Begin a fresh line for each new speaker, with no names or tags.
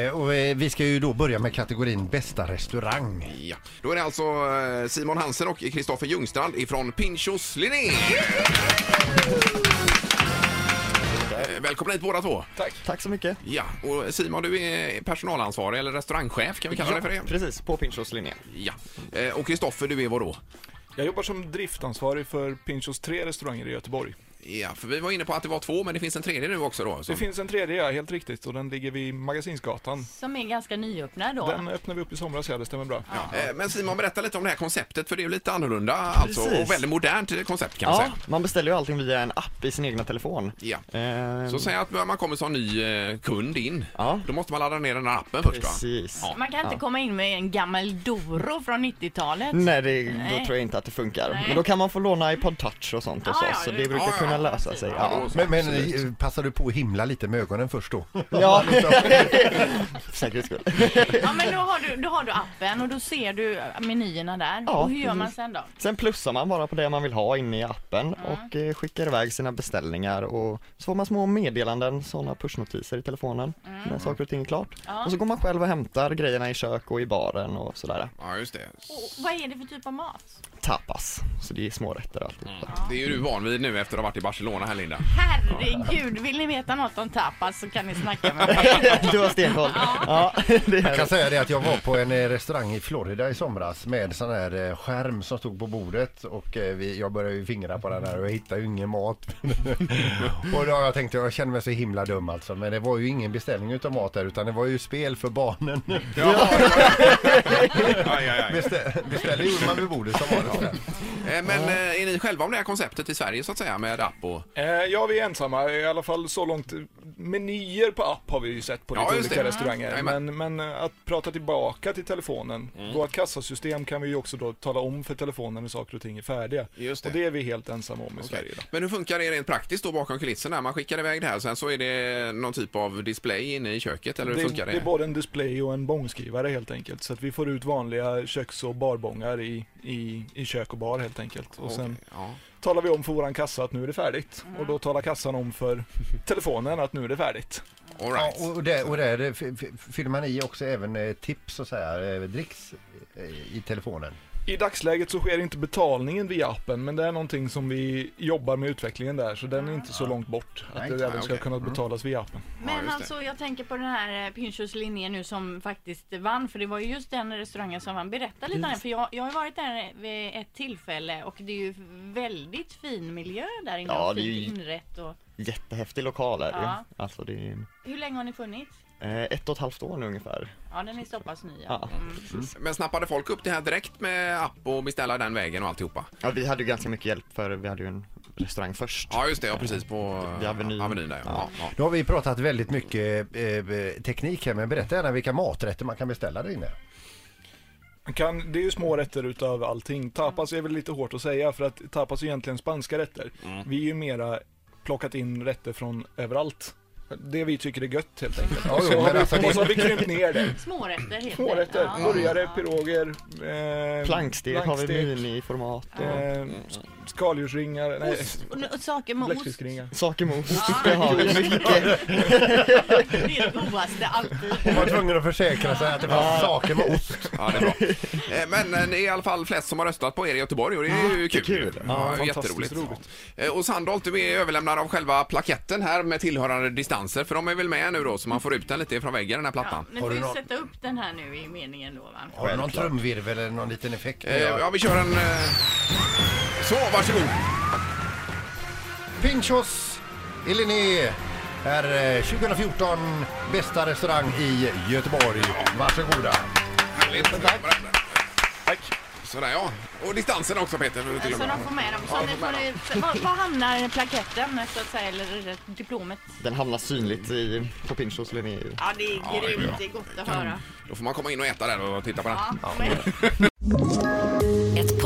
Eh, Och eh, vi ska ju då börja med kategorin bästa restaurang.
Ja. Då är det alltså eh, Simon Hansen och Kristoffer Ljungstrand ifrån Pinchos Linné. Eh, Välkomna hit båda två.
Tack så mycket.
Ja, och Simon du är personalansvarig eller restaurangchef kan vi kalla det för det?
Precis, på Pinchos linje.
Ja. Eh, Och Kristoffer du är vad då?
Jag jobbar som driftansvarig för Pinchos tre restauranger i Göteborg.
Ja, för vi var inne på att det var två men det finns en tredje nu också då.
Det
som-
finns en tredje, ja, helt riktigt, och den ligger vid Magasinsgatan.
Som är ganska nyöppnad då.
Den öppnade vi upp i somras, ja, det stämmer bra.
Eh, Men Simon, berätta lite om det här konceptet, för det är ju lite annorlunda alltså,
Precis.
och väldigt modernt eh, koncept kan man
Ja,
säga.
man beställer ju allting via en app i sin egna telefon.
Ja.
Ehm,
Så säg att man kommer som ny eh, kund in,
Ja.
då måste man ladda ner den här appen först va?
Precis.
Ja.
Man kan inte komma in med en gammal Doro från 90-talet.
Nej, det,
Nej.
då tror jag inte att det funkar.
Nej.
Men då kan man få låna iPod touch och sånt hos
Ja, ja,
oss, så
det-
det brukar
ja, ja,
kunna lösa sig. Ja,
Men, men eh, passar du på att himla lite med ögonen först då?
ja. för säkerhets skull.
Ja, men då har, du, då har du appen och då ser du äh, menyerna där.
Ja,
och hur gör man
precis.
sen då?
Sen plussar man bara på det man vill ha inne i appen och eh, skickar iväg sina beställningar och så får man små meddelanden, sådana pushnotiser i telefonen när saker och ting är klart.
Mm. Ja.
Och så går man själv och hämtar grejerna i kök och i baren och sådär.
Ja, just det.
Och vad är det för typ av mat?
Tapas, så det är smårätter och alltihopa.
Det är ju du van vid nu efter att ha varit i Barcelona här Linda.
Herregud, vill ni veta något om tapas så kan ni snacka med mig.
du har stenkoll. Ja, det är
Jag
det.
kan säga det att jag var på en eh, restaurang i Florida i somras med sån här eh, skärm som stod på bordet och eh, vi, jag började ju fingra på den här och jag hittade ju ingen mat. och då har jag tänkt, jag känner mig så himla dum alltså men det var ju ingen beställning utav mat där utan det var ju spel för barnen.
Aj, aj, aj.
Bestä- Beställde gjorde man vid bordet som var det. sådär.
Eh, Men eh, är ni själva om det här konceptet i Sverige så att säga med app och...
Eh, ja, vi är ensamma, i alla fall så långt. Menyer på app har vi ju sett på
Ja,
lite
just
olika
det. Mm.
restauranger.
Jajamän.
Men, men eh, att prata tillbaka till telefonen,
Mm.
vårt kassasystem kan vi ju också då tala om för telefonen när saker och ting är färdiga.
Just
Och
det.
det är vi helt ensamma om i Sverige. Då.
Men hur funkar det rent praktiskt då bakom kulisserna? Man skickar iväg det här sen så är det någon typ av display inne i köket eller hur
Det,
funkar
är-
det?
det är både en display och en bångskrivare helt enkelt. Så att vi får ut vanliga köks och barbångar i, i, i kök och bar helt enkelt. Och
Okej,
sen
ja.
talar vi om för våran kassa att nu är det färdigt. Och då talar kassan om för telefonen att nu är det färdigt.
All
Ja,
right.
och- och där, och där eh, f- f- fyller man i också även eh, tips och så här, eh, dricks eh, i telefonen.
I dagsläget så sker inte betalningen via appen men det är någonting som vi jobbar med utvecklingen där så den är inte så långt bort att
Nej,
det även
nej,
ska
okej. Mm.
kunna betalas via appen.
Ja,
Men
just det.
alltså jag tänker på den här eh, Pinchos linje nu som faktiskt vann för det var ju just den restaurangen som vann. Berätta lite om den för jag, jag har ju varit där eh, vid ett tillfälle och det är ju väldigt fin miljö där inne
Ja,
och
det är
fint
ju-
inrätt och
Jättehäftig lokal är det
Ja.
ju. Alltså det är
Hur länge har ni funnits?
eh, ett och ett halvt år nu ungefär.
Ja den är så pass ny.
Ja.
Mm.
Men snappade folk upp det här direkt med app och beställa den vägen och alltihopa?
Ja, vi hade ju ganska mycket hjälp för vi hade ju en restaurang först.
Ja, just det. Ja, precis. På
Vid Avenyn.
Avenyn där, ja. Ja.
Nu har vi pratat väldigt mycket eh, teknik här men berätta gärna vilka maträtter man kan beställa där inne.
Man kan, det är ju små rätter utav allting. Tapas är väl lite hårt att säga för att tapas är egentligen spanska rätter.
Mm.
Vi är ju mera plockat in rätter från överallt. Det vi tycker är gött helt enkelt.
Ja,
Och
jo,
så
men
har
alltså
vi, och så
det-
har vi krympt ner det.
Smårätter heter
Smårätter,
det.
burgare, piroger, eh,
Plankstek har vi
plankstek,
miniformat och
eh, sk- skaldjursringar, nej,
Ost, och, och saker med ost.
bläckfiskringar.
saker med ost. Det har vi mycket.
Det är det godaste alltid.
Man var tvungen att försäkra sig att det fanns saker med ost.
Ja, det är bra. Eh, Men eh, det är i alla fall flest som har röstat på er i Göteborg och det är ju kul.
kul. Ja,
Ja,
fantastiskt
jätteroligt.
roligt.
Ja. Eh, Och Sandholt, du är överlämnare av själva plaketten här med tillhörande distanser för de är väl med nu då så man får ut den lite från väggen den här plattan.
Ni
Har
får
du
ju
nå-
sätta upp den här nu i meningen då va?
Har du någon trumvirvel eller någon liten effekt?
Eh, Ja, vi kör en... eh, Så, varsågod.
Pinchos i Linné är eh, 2014 bästa restaurang i Göteborg. Varsågoda.
Härligt. Tack. Sådär ja. Och distansen också Peter. för att
Så
tillhöra.
Alltså, de får med dem. Så ni får, eh, var, var hamnar plaketten så att säga, eller diplomet?
Den hamnar synligt i, på Pinchos Linné.
Ja, det är
det är
grymt.
bra.
Det är gott att höra.
Då får man komma in och äta där och titta på den.
Ja, men-
Ett